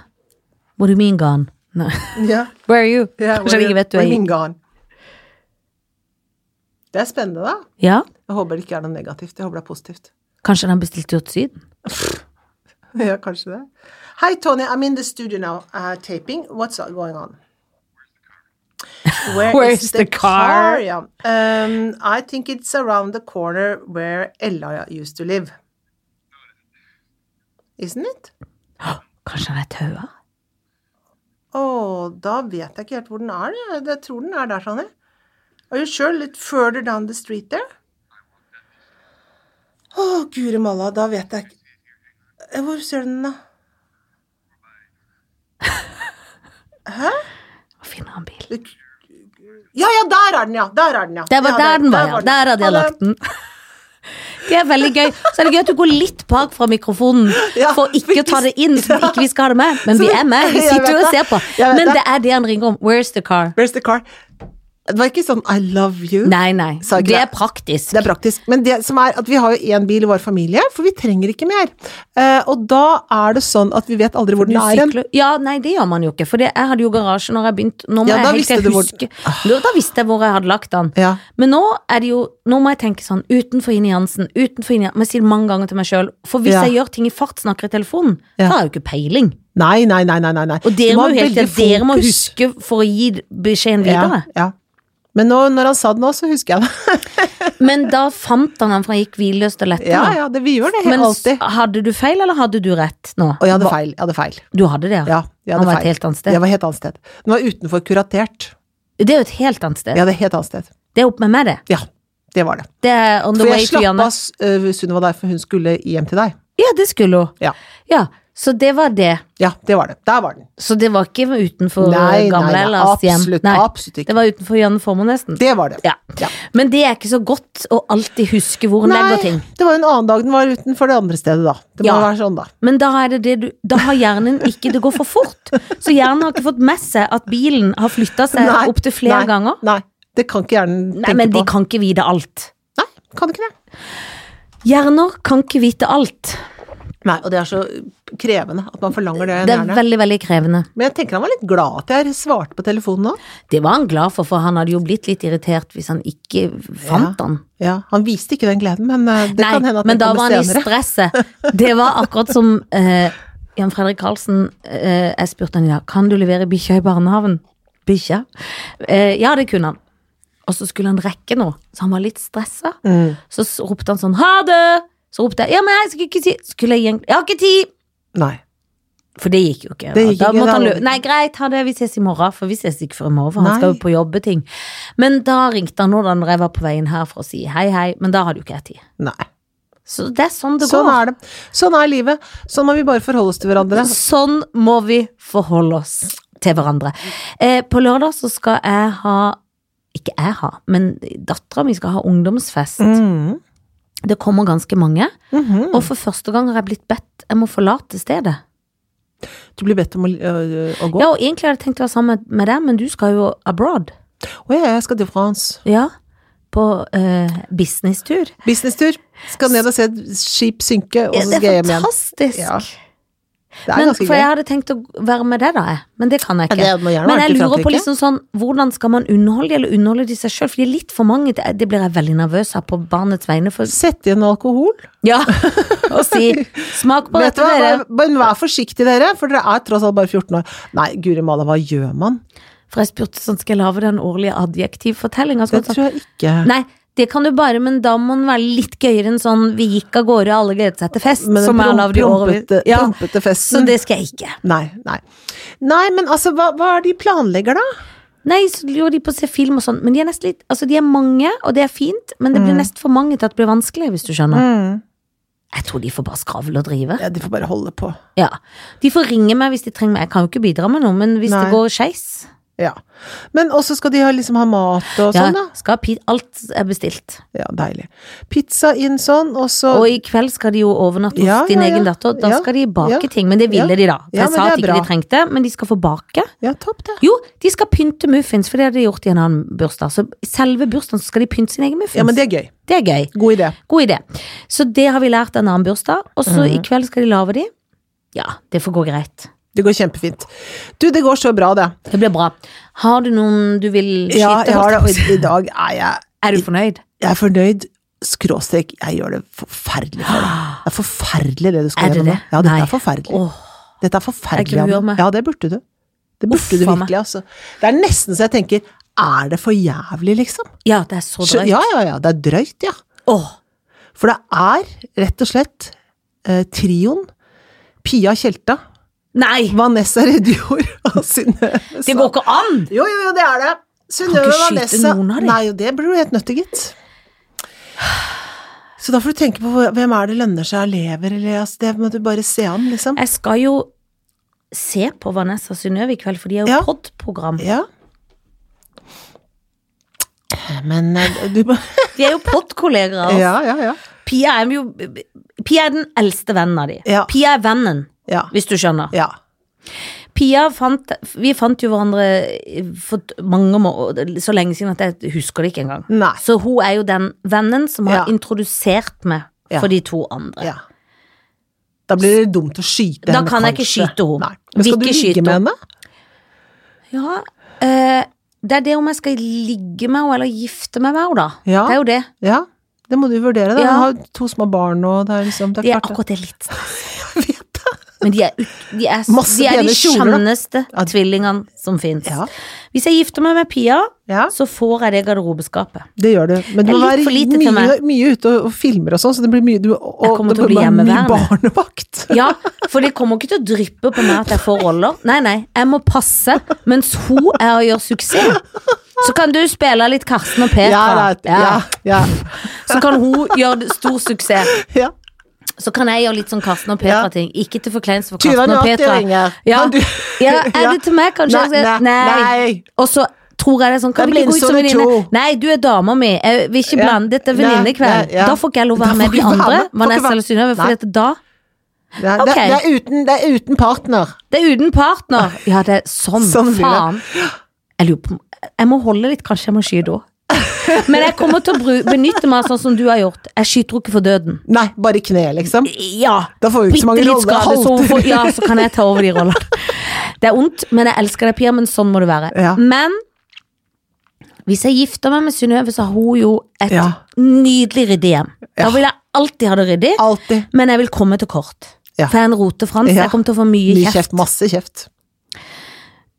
S2: What do you mean gone? Nei.
S1: Ja,
S2: Where are you?
S1: ja,
S2: Kanskje han
S1: hvor-
S2: ikke vet du
S1: hvor
S2: er i.
S1: ringa han? Det er spennende, da.
S2: Ja,
S1: Jeg håper det ikke er noe negativt. Jeg håper det er positivt.
S2: kanskje han bestilte jo til Syden.
S1: Ja, kanskje det. Hi, Tony. I'm in the studio now uh, taping. What's going on? Where
S2: Where's the car?
S1: Yeah. Um, I think it's around the corner where Ella used to live. Isn't it?
S2: Kanskje han er tauer?
S1: Å, da vet jeg ikke helt hvor den er. Jeg, jeg tror den er der, Tony. Are you sure? Litt further down the street there? Å, guri malla, da vet jeg ikke Eh, Hvor ser du den, da?
S2: Og finner han bil.
S1: Ja, ja, der er den, ja! Der er den, ja.
S2: Det var
S1: ja,
S2: der den var, ja. Der hadde
S1: Ha
S2: jeg
S1: det.
S2: lagt den. Det er veldig gøy. Så er det gøy at du går litt bak fra mikrofonen
S1: Ja,
S2: for ikke å ta det inn, som ikke vi skal ha det med. Men vi er med. Vi
S1: Jeg
S2: sitter
S1: vet
S2: jo og
S1: det.
S2: ser på.
S1: Jeg vet
S2: Men
S1: det.
S2: det er det han ringer om. Where's the car?
S1: Where's the car? Det var ikke sånn I love you.
S2: Nei, nei.
S1: Sa ikke
S2: Det er
S1: det.
S2: praktisk.
S1: Det er praktisk. Men det som er at vi har jo én bil i vår familie, for vi trenger ikke mer. Eh, og da er det sånn at vi vet aldri hvor den
S2: Du
S1: er hen.
S2: sykler- Ja, nei, det gjør man jo ikke. For det, jeg hadde jo garasje når jeg begynte. Nå må
S1: Ja,
S2: jeg
S1: da
S2: helt
S1: visste
S2: til
S1: du
S2: jeg
S1: hvor-
S2: huske da, da visste jeg hvor jeg hadde lagt den.
S1: Ja.
S2: Men nå er det jo Nå må jeg tenke sånn utenfor Ine Jansen, utenfor Ine Jansen. Men jeg sier det mange ganger til meg sjøl. For hvis
S1: Ja.
S2: jeg gjør ting i fart, snakker i telefonen,
S1: Ja.
S2: da har jeg jo ikke peiling.
S1: Nei, nei, nei, nei. nei, nei.
S2: Og
S1: Du
S2: dere må,
S1: ha
S2: jo helt,
S1: veldig
S2: dere må
S1: fokus.
S2: huske for å gi beskjeden videre.
S1: Ja, ja. Men nå, når han sa det nå, så husker jeg det.
S2: Men da fant han den, for han gikk hvilløst og lettere.
S1: Ja, ja, det, vi gjør det helt
S2: Men s-
S1: alltid.
S2: hadde du feil, eller hadde du rett nå?
S1: Og jeg hadde
S2: Hva-
S1: feil. Jeg hadde feil.
S2: Du hadde det,
S1: Ja, jeg hadde
S2: han var
S1: feil.
S2: et helt annet sted.
S1: Jeg var helt annet sted. Den var utenfor kuratert.
S2: Det er jo et helt annet sted.
S1: Jeg hadde helt annet sted.
S2: Det er opp med meg, det.
S1: Ja, det var det.
S2: Det er on the
S1: For
S2: way
S1: jeg
S2: to
S1: slapp
S2: Janne.
S1: av uh, Sunniva der, for hun skulle hjem til deg.
S2: Ja, det skulle hun.
S1: Ja.
S2: Ja, så det var det.
S1: Ja, det var det. Der var den.
S2: Så det var ikke utenfor
S1: Nei, nei,
S2: gamle
S1: nei,
S2: Ellers hjem.
S1: absolutt,
S2: Nei,
S1: absolutt ikke.
S2: Det var utenfor Janne Formoe, nesten.
S1: Det var det.
S2: Ja.
S1: Ja.
S2: Men det er ikke så godt å alltid huske hvor en legger ting.
S1: det var jo en annen dag den var utenfor det andre stedet, da. Det må
S2: Ja.
S1: være sånn, da.
S2: Men da er det det du Da har hjernen ikke Det går for fort. Så hjernen har ikke fått med seg at bilen har flytta seg
S1: Nei,
S2: opp opptil flere
S1: nei,
S2: ganger.
S1: Nei, det kan ikke hjernen
S2: Nei,
S1: tenke
S2: men de
S1: på.
S2: kan ikke vite alt.
S1: Nei, kan ikke det.
S2: Hjerner kan ikke vite alt.
S1: Nei, og det er så krevende at man forlanger det av en
S2: Det er
S1: hjerne.
S2: veldig, veldig krevende.
S1: Men jeg tenker han var litt glad at jeg svarte på telefonen nå.
S2: Det var han glad for, for han hadde jo blitt litt irritert hvis han ikke fant
S1: Ja.
S2: han.
S1: Ja, han viste ikke den gleden, men eh, det kan hende at
S2: men
S1: den
S2: da
S1: kommer
S2: var han i
S1: senere.
S2: stresset. Det var akkurat som eh, Jan Fredrik Karlsen eh, Jeg spurte han i dag Kan du levere bikkja i barnehaven. Bikkja? Eh, ja, det kunne han. Og så skulle han rekke noe, så han var litt stressa.
S1: Mm.
S2: Så s- ropte han sånn 'ha det'. Så ropte jeg 'ja, men jeg skulle ikke tid'. Skulle jeg egentlig 'jeg har ikke tid'.
S1: Nei.
S2: For det gikk jo ikke.
S1: Det gikk
S2: da
S1: ikke,
S2: måtte
S1: da
S2: han
S1: var
S2: lø
S1: det-
S2: Nei, greit, ha det, vi ses i morgen. For vi ses ikke før i morgen, for
S1: Nei.
S2: han skal jo på jobbeting. Men da ringte han nå da når jeg var på veien her for å si hei, hei. Men da hadde jo ikke jeg tid.
S1: Nei.
S2: Så det er sånn det
S1: Sånn
S2: går.
S1: er det. Sånn er livet. Sånn må vi bare forholde oss til hverandre.
S2: Sånn må vi forholde oss til hverandre. Eh, på lørdag så skal jeg ha ikke jeg ha, men dattera mi skal ha ungdomsfest.
S1: Mm.
S2: Det kommer ganske mange.
S1: Mhm.
S2: Og for første gang har jeg blitt bedt jeg må forlate stedet.
S1: Du blir bedt om å, ø, å gå. Å
S2: Ja, og egentlig hadde jeg tenkt å være sammen med deg, men du skal jo abroad.
S1: ja, jeg skal til France.
S2: Ja. På eh, businesstur.
S1: Businesstur. Skal ned og se et skip synke, og
S2: Ja,
S1: så
S2: det
S1: skal jeg
S2: er
S1: hjem igjen.
S2: fantastisk.
S1: Ja, Det er
S2: Men,
S1: ganske
S2: for
S1: gøy.
S2: jeg hadde tenkt å være med deg, da, jeg. Men det kan jeg
S1: Ja,
S2: ikke.
S1: det må gjerne
S2: Men
S1: være
S2: jeg
S1: til
S2: lurer på
S1: Frankrike.
S2: liksom sånn, hvordan skal man underholde de, eller underholde de seg sjøl? For de er litt for mange. Det det blir jeg veldig nervøs av på barnets vegne. For,
S1: Sette inn alkohol.
S2: ja, og si 'smak på
S1: Vet du
S2: dette,
S1: hva,
S2: dere'.
S1: bare, bare vær forsiktig dere, for dere er tross alt bare 14 år. Nei, guri malla, hva gjør man?
S2: For jeg spurte sånn, skal jeg lage den årlige adjektivfortellinga?
S1: Det tror jeg ikke.
S2: Nei, det kan du bare, men da må den være litt gøyere enn sånn 'vi gikk av gårde, alle gledet seg til fest',
S1: Men den
S2: som jeg
S1: prom-
S2: har lagd i årevis.
S1: prompete-
S2: Ja,
S1: prompete festen.
S2: så det skal jeg ikke.
S1: Nei, nei. Nei, men altså, hva, hva er det de planlegger da?
S2: Nei, så lurer de på å se film og sånn, men de er nesten litt Altså, de er mange, og det er fint, men det blir
S1: Mm.
S2: nesten for mange til at det blir vanskelig, hvis du skjønner. Jeg tror de får bare skravle og drive.
S1: Ja, de får bare holde på.
S2: Ja. De får ringe meg hvis de trenger meg. Jeg kan jo ikke bidra med noe, men hvis
S1: Nei.
S2: det går skeis
S1: Ja. Men også skal de ha, liksom ha mat og sånn
S2: ja,
S1: da?
S2: skal ha pi- Alt er bestilt.
S1: Ja, deilig. Pizza inn sånn, og så...
S2: Og i kveld skal de jo overnatte hos
S1: Ja,
S2: din
S1: ja, ja.
S2: egen datter. Da
S1: Ja,
S2: skal de bake
S1: ja,
S2: ting, men det ville
S1: ja.
S2: de da. For
S1: Ja,
S2: jeg
S1: men
S2: sa
S1: det
S2: at
S1: er
S2: ikke
S1: bra.
S2: de trengte, men de skal få bake.
S1: Ja, topp det.
S2: Jo, de skal pynte muffins, for det har de gjort i en annen bursdag. Så i selve bursdagen så skal de pynte sin egen muffins.
S1: Ja, men det er gøy.
S2: det er gøy.
S1: God idé.
S2: God idé. Så det har vi lært av en annen bursdag, og så
S1: Mhm.
S2: i kveld skal de lage de. Ja, det får gå greit.
S1: Det går kjempefint. Du, det går så bra det.
S2: Det blir bra. Har du noen du vil skyte?
S1: Ja, jeg har det,
S2: holdt jeg på å si?
S1: og i dag er jeg...
S2: Er du fornøyd?
S1: Jeg er fornøyd, skråstrek, jeg gjør det forferdelig for deg. Det er forferdelig det du skal
S2: Er det
S1: gjennom nå.
S2: det?
S1: Ja, dette
S2: Nei.
S1: er forferdelig.
S2: Åh,
S1: Dette er
S2: Jeg
S1: forferdelig.
S2: gruer
S1: Anne.
S2: meg.
S1: Ja, det burde du. Det burde
S2: Uff,
S1: du
S2: faen meg.
S1: virkelig, altså. Det er nesten så jeg tenker, er det for jævlig, liksom?
S2: Ja, det er så
S1: Skjø-
S2: drøyt.
S1: Ja, ja, ja. Det er drøyt, ja.
S2: Åh,
S1: For det er rett og slett eh, trioen Pia Tjelta,
S2: nei!
S1: Vanessa Redjord og Synnøve
S2: Det går ikke an!
S1: Jo, jo, jo, det er det.
S2: Kan
S1: Synnøve
S2: ikke skyte
S1: Vanessa
S2: noen av de.
S1: Nei, jo, det blir du helt nødt til, gitt. Så da får du tenke på hva- hvem er det lønner seg av lever, eller altså, det må du bare se an, liksom.
S2: Jeg skal jo se på Vanessa Synnøve i kveld, for de har jo
S1: Ja.
S2: podprogram.
S1: Ja. Men eh, du må
S2: De er jo podkolleger av oss.
S1: Ja, ja, ja.
S2: Pia er jo Pia er den eldste vennen av de.
S1: Ja.
S2: Pia er vennen,
S1: Ja.
S2: hvis du skjønner.
S1: ja.
S2: Pia fant Vi fant jo hverandre for mange må- så lenge siden at jeg husker det ikke engang.
S1: Nei.
S2: Så hun er jo den vennen som
S1: Ja.
S2: har introdusert meg
S1: Ja.
S2: for de to andre.
S1: ja. Da blir det dumt å skyte
S2: Da
S1: henne,
S2: kan jeg ikke
S1: kanskje.
S2: skyte henne.
S1: Nei. Men skal
S2: Vil
S1: du
S2: ikke skyte
S1: ligge med
S2: henne.
S1: henne?
S2: Ja, eh, det er det om jeg skal ligge med henne eller gifte meg med henne, da.
S1: Ja.
S2: Det er jo det.
S1: Ja, det må du vurdere. Da.
S2: Ja.
S1: Du har to små barn, og det er liksom det
S2: De
S1: er
S2: er
S1: klart
S2: akkurat det litt stress.
S1: Jeg vet det.
S2: Men de er, ut- de er,
S1: Masse
S2: de, er de
S1: pene kjoler, da.
S2: skjønneste
S1: Ja.
S2: tvillingene som fins.
S1: Ja.
S2: Hvis jeg gifter meg med Pia,
S1: Ja,
S2: så får jeg det garderobeskapet.
S1: det gjør du. Men du
S2: Det er
S1: må
S2: litt
S1: være
S2: for lite til
S1: mye,
S2: meg.
S1: mye ute og, og filmer og sånn, så det blir mye du, og,
S2: Jeg kommer
S1: det
S2: til å bli
S1: bare mye
S2: hjemmeværende.
S1: barnevakt.
S2: Ja, for det kommer ikke til å dryppe på meg at jeg får roller. Nei, nei, jeg må passe mens hun er og gjør suksess. Så kan du spille litt Karsten og Petra.
S1: Ja, right. ja, ja,
S2: Så kan hun gjøre det- stor suksess.
S1: ja.
S2: Så kan jeg gjøre litt sånn Karsten og Petra-ting. Ikke til forkleinelse for
S1: Tyra
S2: Karsten og Petra.
S1: ringer.
S2: Ja.
S1: Kan du-
S2: ja, er det til meg, kanskje?
S1: Nei, nei, nei.
S2: Og så tror jeg det er sånn, kan
S1: Det
S2: vi
S1: blir
S2: ikke gå ut som
S1: sånne
S2: venninne?
S1: to.
S2: Nei, du er dama mi, jeg vil ikke
S1: Ja.
S2: blande dette er
S1: Nei,
S2: venninnekveld.
S1: nei, ja.
S2: Da får ikke jeg lov å
S1: Da
S2: være med
S1: får
S2: de
S1: ikke være med.
S2: andre,
S1: Får ikke
S2: Vanessa
S1: være-
S2: eller Synnøve, for
S1: Nei.
S2: dette da
S1: Det, er-
S2: Ok.
S1: det, det, er uten, det er uten partner.
S2: Det er uten partner. Ja, det er sånn.
S1: Sånn blir det.
S2: faen. Jeg lurer på om- Jeg må holde litt, kanskje jeg må skyte òg. Men jeg kommer til å bru- benytte meg sånn som du har gjort. Jeg skyter henne ikke for døden.
S1: Nei, bare kne, liksom.
S2: Ja.
S1: Da får vi ikke så mange
S2: Bitte litt
S1: roller.
S2: skade, så hun
S1: Halter.
S2: får, ja, så kan jeg ta over de rollene. Det er ondt, men jeg elsker deg, Pia, men sånn må det være.
S1: Ja.
S2: Men hvis jeg gifter meg med Synnøve, så har hun jo et
S1: Ja.
S2: nydelig ryddig hjem. Da
S1: Ja.
S2: vil jeg alltid ha det ryddig,
S1: Alltid.
S2: men jeg vil komme til kort.
S1: Ja.
S2: For jeg er en rotefrans.
S1: Ja.
S2: Jeg kommer til å få mye
S1: Mye
S2: kjeft.
S1: kjeft. Masse kjeft.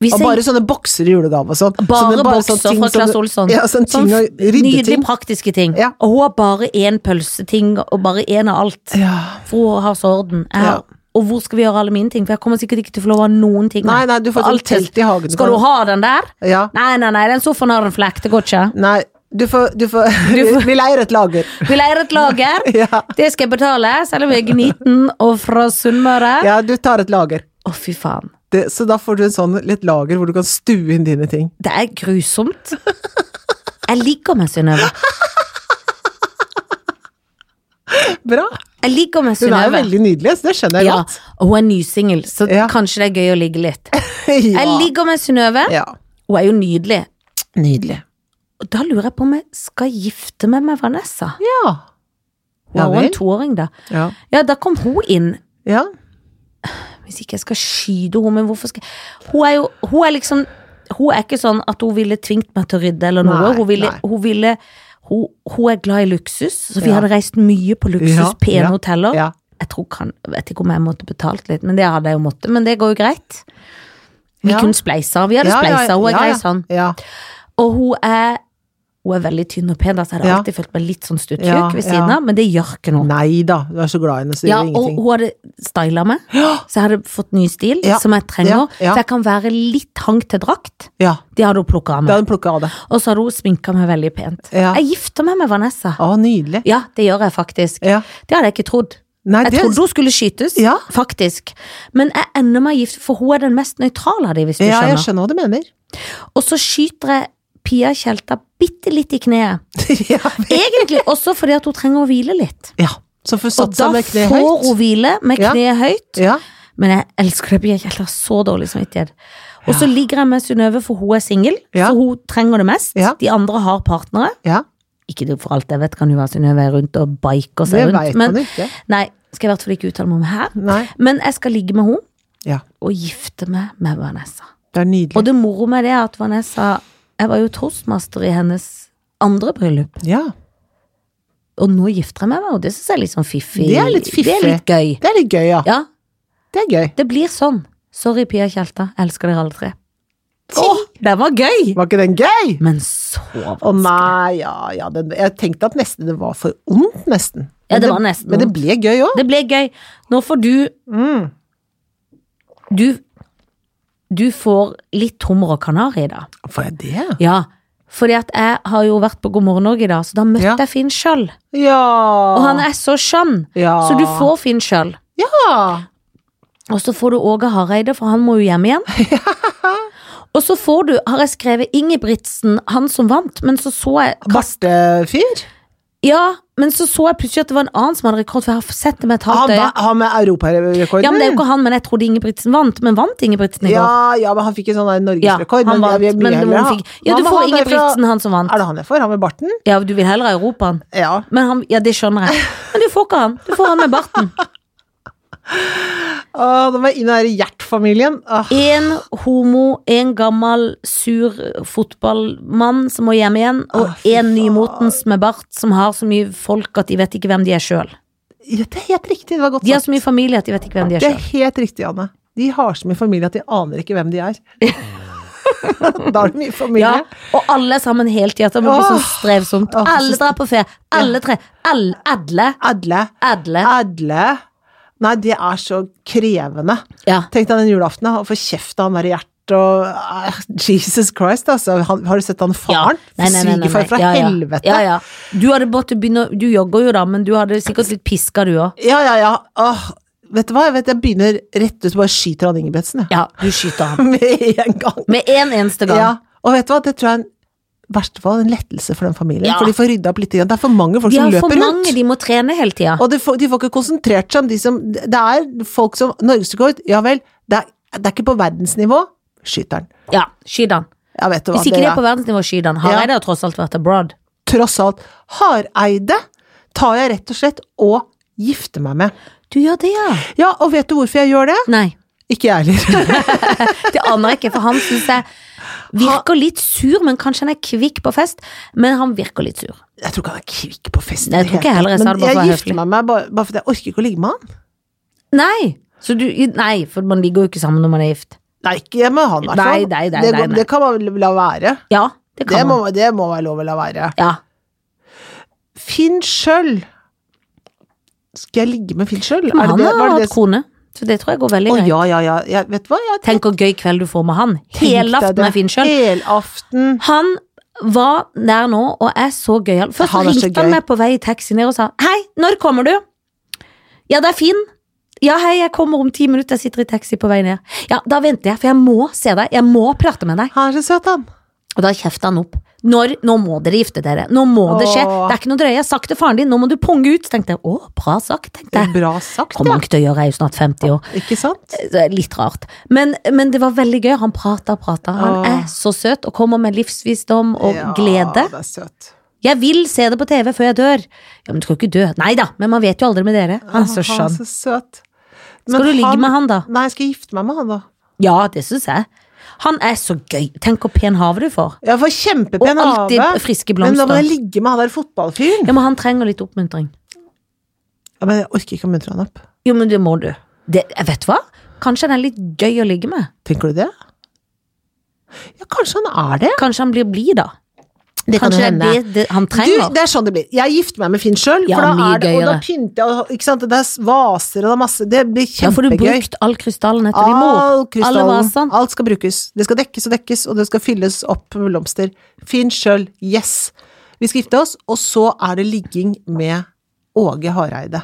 S2: Hvis
S1: Og
S2: jeg-
S1: bare sånne bokser i julegave og sånn.
S2: Bare
S1: Sånne-
S2: bokser
S1: sånne ting
S2: fra
S1: som
S2: Claes
S1: du-
S2: Olsson.
S1: Ja, sånne ting å
S2: Sånn
S1: rydde
S2: Nydelige,
S1: ting.
S2: praktiske ting.
S1: Ja.
S2: Og hun har bare én pølseting, og bare én av alt.
S1: Ja.
S2: For hun har så orden. Jeg har- Og hvor skal vi gjøre alle mine ting? For jeg kommer sikkert ikke til å få lov å ha noen ting.
S1: Nei, nei, du får
S2: For alt
S1: et telt i hagen.
S2: Skal du ha den der?
S1: Ja.
S2: Nei, nei, nei, den sofaen har en flekk, det går ikke.
S1: Nei, du får, du får, Vi leier et lager.
S2: Vi leier et lager,
S1: Ja.
S2: det skal jeg betale, selv om jeg er gniten og fra Sunnmøre. Å,
S1: ja, du tar et lager.
S2: fy faen.
S1: Det, så da får du en sånn litt lager hvor du kan stue inn dine ting.
S2: Det er grusomt. Jeg ligger med Synnøve.
S1: Bra.
S2: Jeg ligger
S1: Hun er
S2: med
S1: jo
S2: Synnøve.
S1: veldig nydelig, så det skjønner jeg
S2: Ja,
S1: godt.
S2: og hun er nysingel, så
S1: Ja.
S2: kanskje det er gøy å ligge litt.
S1: ja.
S2: Jeg ligger med Synnøve,
S1: Ja.
S2: hun er jo nydelig.
S1: Nydelig.
S2: Og da lurer jeg på om jeg skal gifte meg med Vanessa.
S1: Ja.
S2: Hun
S1: Ja
S2: er jo en
S1: vel.
S2: toåring, da.
S1: Ja.
S2: Ja, da kom hun inn.
S1: ja.
S2: Hvis ikke jeg skal skyte henne, men hvorfor skal jeg Hun er jo Hun er liksom Hun er ikke sånn at hun ville tvingt meg til å rydde eller noe.
S1: Nei,
S2: hun ville,
S1: nei.
S2: hun, ville hun, hun er glad i luksus, så vi
S1: Ja.
S2: hadde reist mye på luksus,
S1: Ja, ja,
S2: pene hoteller.
S1: ja.
S2: Jeg tror kan, vet ikke om jeg måtte betalt litt, men det hadde jeg jo måttet. Men det går jo greit. Vi
S1: Ja.
S2: kunne spleisa, vi hadde
S1: Ja, ja,
S2: spleisa, hun er
S1: ja,
S2: grei
S1: ja.
S2: sånn.
S1: Ja.
S2: Og hun er hun er veldig tynn og pen, da, så jeg hadde
S1: Ja.
S2: alltid følt meg litt sånn stuttjukk
S1: Ja,
S2: ved
S1: ja.
S2: siden av, men det gjør ikke noe.
S1: Nei da, du er så glad i henne, så det
S2: Ja,
S1: gjør
S2: og
S1: ingenting.
S2: hun hadde styla meg, så jeg hadde fått ny stil,
S1: Ja,
S2: som jeg trenger.
S1: ja, ja.
S2: Så jeg kan være litt hangt til drakt.
S1: Ja,
S2: Det hadde hun plukka av
S1: da
S2: meg.
S1: hadde hun plukka av det.
S2: Og så hadde hun sminka meg veldig pent.
S1: Ja.
S2: Jeg gifter meg med Vanessa.
S1: Å, nydelig.
S2: Ja, det gjør jeg faktisk.
S1: Ja.
S2: Det hadde jeg ikke trodd.
S1: Nei,
S2: Jeg
S1: det-
S2: trodde hun skulle skytes,
S1: Ja.
S2: faktisk. Men jeg ender med å gifte for hun er den mest nøytrale av de, hvis du
S1: Ja, jeg skjønner
S2: skjønner.
S1: hva du mener.
S2: Og så skyter jeg Pia Tjelta bitte litt i kneet.
S1: ja, vel.
S2: Egentlig også fordi at hun trenger å hvile litt.
S1: ja. Så får du
S2: Og
S1: satsa
S2: da
S1: med kneet
S2: får
S1: høyt.
S2: hun hvile med
S1: Ja.
S2: kneet høyt.
S1: Ja.
S2: Men jeg elsker det, jeg har så dårlig samvittighet. Og så ligger jeg med Synnøve, for hun er singel,
S1: Ja.
S2: så hun trenger det mest.
S1: Ja.
S2: De andre har partnere.
S1: ja.
S2: Ikke det for alt jeg vet, kan jo være Synnøve er rundt og biker
S1: Det
S2: seg rundt.
S1: veit man
S2: Men
S1: ikke.
S2: nei, skal jeg i hvert fall ikke uttale meg om her.
S1: Nei.
S2: Men jeg skal ligge med henne
S1: Ja.
S2: og gifte meg med Vanessa.
S1: Det er nydelig.
S2: Og det moro med det er at Vanessa Jeg var jo toastmaster i hennes andre bryllup.
S1: Ja.
S2: Og nå gifter jeg meg med henne, det syns jeg er litt sånn fiffig.
S1: Det er litt fiffig.
S2: Det er litt gøy.
S1: Det er litt gøy, ja.
S2: Ja.
S1: Det er gøy.
S2: Det blir sånn. Sorry, Pia Tjelta. Elsker dere alle tre.
S1: Å,
S2: Den var gøy!
S1: var ikke den gøy?
S2: Men altså. så vanskelig.
S1: Å nei, ja, ja. Den, jeg tenkte at nesten det var for ondt, nesten.
S2: Ja, det
S1: Men
S2: var nesten
S1: Men det
S2: ondt.
S1: ble gøy òg.
S2: Det ble gøy. Nå får du
S1: Mm.
S2: Du, du får litt hummer og kanari, da.
S1: Får jeg det?
S2: Ja. Fordi at jeg har jo vært på God morgen Norge i dag, så da møtte
S1: Ja.
S2: jeg Finn sjøl.
S1: Ja.
S2: Og han er så skjønn,
S1: ja.
S2: så du får Finn sjøl.
S1: ja.
S2: Og så får du Åge Hareide, for han må jo hjem igjen. Og så får du, har jeg skrevet Ingebrigtsen, han som vant, men så så jeg kast,
S1: Bartefyr?
S2: Ja, men så så jeg plutselig at det var en annen som hadde rekord, for jeg har sett det med et
S1: Han,
S2: halvt øye.
S1: han med europarekorden?
S2: Ja, men det er jo ikke han, men jeg trodde Ingebrigtsen vant, men vant Ingebrigtsen i
S1: ja,
S2: går?
S1: ja, men han fikk en sånn der
S2: Ja,
S1: norgesrekord.
S2: han
S1: jeg
S2: vant,
S1: vil mye
S2: men
S1: heller
S2: noen
S1: ha-
S2: fikk Ja,
S1: Han
S2: du
S1: var
S2: får
S1: han der fra-
S2: Ingebrigtsen, han som vant.
S1: Er det han jeg får? Han med barten?
S2: Ja, du vil heller ha Europaen.
S1: Ja.
S2: Men han, ja, det skjønner jeg. Men du får ikke han. Du får han med barten.
S1: Å, da må jeg inn i den der Gjert-familien. Åh,
S2: En homo, en gammel, sur fotballmann som må hjem igjen,
S1: Å,
S2: og
S1: fy
S2: en nymotens med bart som har så mye folk at de vet ikke hvem de er sjøl.
S1: Det er helt riktig, det var godt
S2: De har
S1: sagt.
S2: så mye familie at de vet ikke hvem de er
S1: Det er
S2: sjøl.
S1: helt riktig, Anne. De har så mye familie at de aner ikke hvem de er. da er det mye familie.
S2: Ja, og alle er sammen helhjerta. Det blir sånn
S1: Åh.
S2: strevsomt.
S1: Åh,
S2: Alle
S1: så-
S2: drar på ferie. Alle tre. Alle. Adle.
S1: Adle.
S2: Adle.
S1: Adle. Nei, det er så krevende.
S2: Ja.
S1: Tenk deg den julaften, da, å få kjeft av han der Gjert og eh, Jesus Christ, altså. Han, har du sett han faren?
S2: Nei, nei, nei, nei, nei.
S1: Svigerfar fra
S2: Ja, ja.
S1: helvete.
S2: Ja, ja. Du hadde måttet begynne å- Du jogger jo, da, men du hadde sikkert blitt piska, du òg.
S1: Ja, ja, ja. Åh, vet du hva, jeg, vet, jeg begynner rett ut og bare skyter han Ingebrigtsen, jeg.
S2: Ja, du skyter han.
S1: Med en gang.
S2: Med en eneste gang.
S1: Ja. Og vet du hva, det tror jeg er en- i verste fall en lettelse for den familien.
S2: Ja.
S1: For de får rydda opp litt. igjen. Det er for mange folk
S2: De
S1: som
S2: har
S1: løper
S2: for mange,
S1: rundt.
S2: de må trene hele tida.
S1: Og de får, de får ikke konsentrert seg om de som Det er folk som Norgesrekord, ja vel, det er, det er ikke på verdensnivå. Skyter han.
S2: Ja, skyt han.
S1: Ja, vet du hva,
S2: Hvis ikke det er
S1: er
S2: på verdensnivå, skyt han. Hareide har tross alt vært abroad.
S1: tross alt Hareide tar jeg rett og slett og gifter meg med.
S2: Du gjør det, ja?
S1: Ja, og vet du hvorfor jeg gjør det?
S2: Nei.
S1: Ikke jeg heller.
S2: Det aner jeg ikke, for han syns jeg virker litt sur, men kanskje han er kvikk på fest. Men han virker litt sur.
S1: Jeg tror ikke han er kvikk på fest. i
S2: Nei, jeg
S1: det
S2: tror ikke
S1: hele
S2: heller jeg
S1: tatt,
S2: sa det bare
S1: men
S2: for å være
S1: jeg gifter
S2: høflig.
S1: meg med bare, bare fordi jeg orker ikke å ligge med han.
S2: Nei! Så du, nei, for man ligger jo ikke sammen når man er gift.
S1: Nei, ikke med han, i hvert
S2: Nei,
S1: fall.
S2: nei, nei,
S1: det,
S2: nei,
S1: går-
S2: nei.
S1: det kan man vel la være.
S2: Ja,
S1: Det
S2: det kan
S1: må,
S2: man.
S1: det må være lov å la være.
S2: Ja.
S1: Finn Schjøll. Skal jeg ligge med Finn Schjøll? Er det
S2: Men han
S1: det- var
S2: har
S1: det det
S2: hatt kone, så det tror jeg går veldig
S1: Å,
S2: greit.
S1: ja, ja, ja. Jeg, vet du hva? Jeg
S2: Tenk hvor gøy kveld du får med han.
S1: tenkte
S2: Helaften
S1: det.
S2: med Finn sjøl.
S1: Helaften.
S2: Han var der nå og er så gøyal. Først
S1: Han er så
S2: ringte han
S1: gøy.
S2: meg på vei i taxi ned og sa Hei, når kommer du? Ja, det er Finn. Ja, hei, jeg kommer om ti minutter. Jeg sitter i taxi på vei ned. Ja, da venter jeg, for jeg må se deg. Jeg må prate med deg.
S1: Han er så søt, han.
S2: Og da kjefta han opp. Når, nå må dere gifte dere. Nå må det skje.
S1: Åh.
S2: Det er ikke noe drøye. Jeg har sagt til faren din, nå må du punge ut. Så tenkte jeg, å, bra sagt, tenkte jeg.
S1: Bra sagt,
S2: Kommer
S1: ja.
S2: han ikke til å gjøre, jeg er jo snart 50 år.
S1: Ikke sant?
S2: Så det er Litt rart. Men, men det var veldig gøy. Han prata og prata. Han
S1: Åh.
S2: er så søt og kommer med livsvisdom og
S1: ja,
S2: glede.
S1: Det er søt.
S2: Jeg vil se det på TV før jeg dør. Ja, men du skal ikke dø. Nei da, men man vet jo aldri med dere. Han er
S1: Han
S2: så
S1: er
S2: skjønn.
S1: så søt. Men
S2: Skal du ligge
S1: han-
S2: med han, da?
S1: Nei, jeg skal gifte meg med han, da.
S2: Ja, det syns jeg. Han er så gøy. Tenk hvor pen havet du får.
S1: Jeg får kjempepen
S2: Og alltid
S1: have.
S2: friske
S1: Men da må
S2: blomster.
S1: jeg ligge med han der fotballfyren.
S2: Ja, men han trenger litt oppmuntring.
S1: Ja, men jeg orker ikke å muntre han opp.
S2: Jo, men det må du. Det, jeg vet hva? Kanskje han er litt gøy å ligge med.
S1: Tenker du det? Ja, kanskje han er det.
S2: Kanskje han blir blid, da.
S1: Det kan
S2: Kanskje
S1: jo hende.
S2: det er det, det han
S1: Du,
S2: trenger.
S1: det er sånn det blir. Jeg gifter meg med Finn sjøl,
S2: Ja,
S1: for da
S2: mye
S1: er det, og da
S2: gøyere.
S1: pynter jeg, og- ikke sant, det er vaser og det er masse, det blir
S2: Da får du
S1: kjempegøy.
S2: brukt all krystallen etter din mor.
S1: All
S2: Alle
S1: krystallen,
S2: vasene.
S1: alt skal brukes. Det skal dekkes og dekkes, og det skal fylles opp med blomster. Finn sjøl, yes. Vi skal gifte oss, og så er det ligging med Åge Hareide.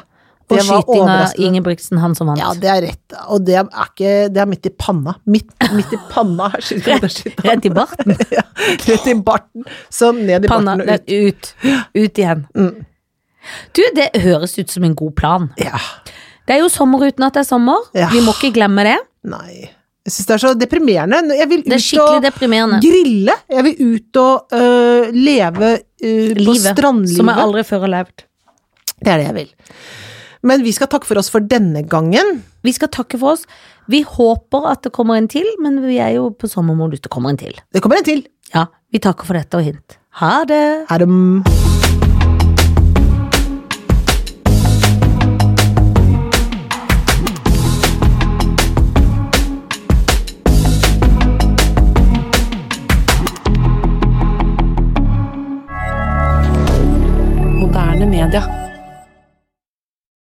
S2: Og
S1: Det var
S2: skyting av
S1: overraskende.
S2: Ingebrigtsen, han som vant.
S1: Ja, det er rett, og det er ikke, det er midt i panna. Midt, midt i panna her, skyter han, der skyter han.
S2: Rett i barten.
S1: Ja, rett i barten. Så ned i
S2: Panna
S1: barten og ut.
S2: ut. ut. Ut igjen.
S1: Mm.
S2: Du, det høres ut som en god plan.
S1: Ja.
S2: Det er jo sommer uten at det er sommer.
S1: Ja.
S2: Vi må ikke glemme det.
S1: Nei. Jeg syns det er så deprimerende. Jeg vil
S2: Det er
S1: ut
S2: skikkelig
S1: og
S2: deprimerende.
S1: grille. Jeg vil ut og øh, leve øh, på
S2: Livet som jeg
S1: strandlivet.
S2: aldri før har levd.
S1: Det er det jeg vil. Men vi skal takke for oss for denne gangen.
S2: Vi skal takke for oss. Vi håper at det kommer en til, men vi er jo på sommermodus. Det kommer en til.
S1: Det kommer en til.
S2: Ja, vi takker for dette og hint. Ha det!
S1: Er det
S3: moderne media.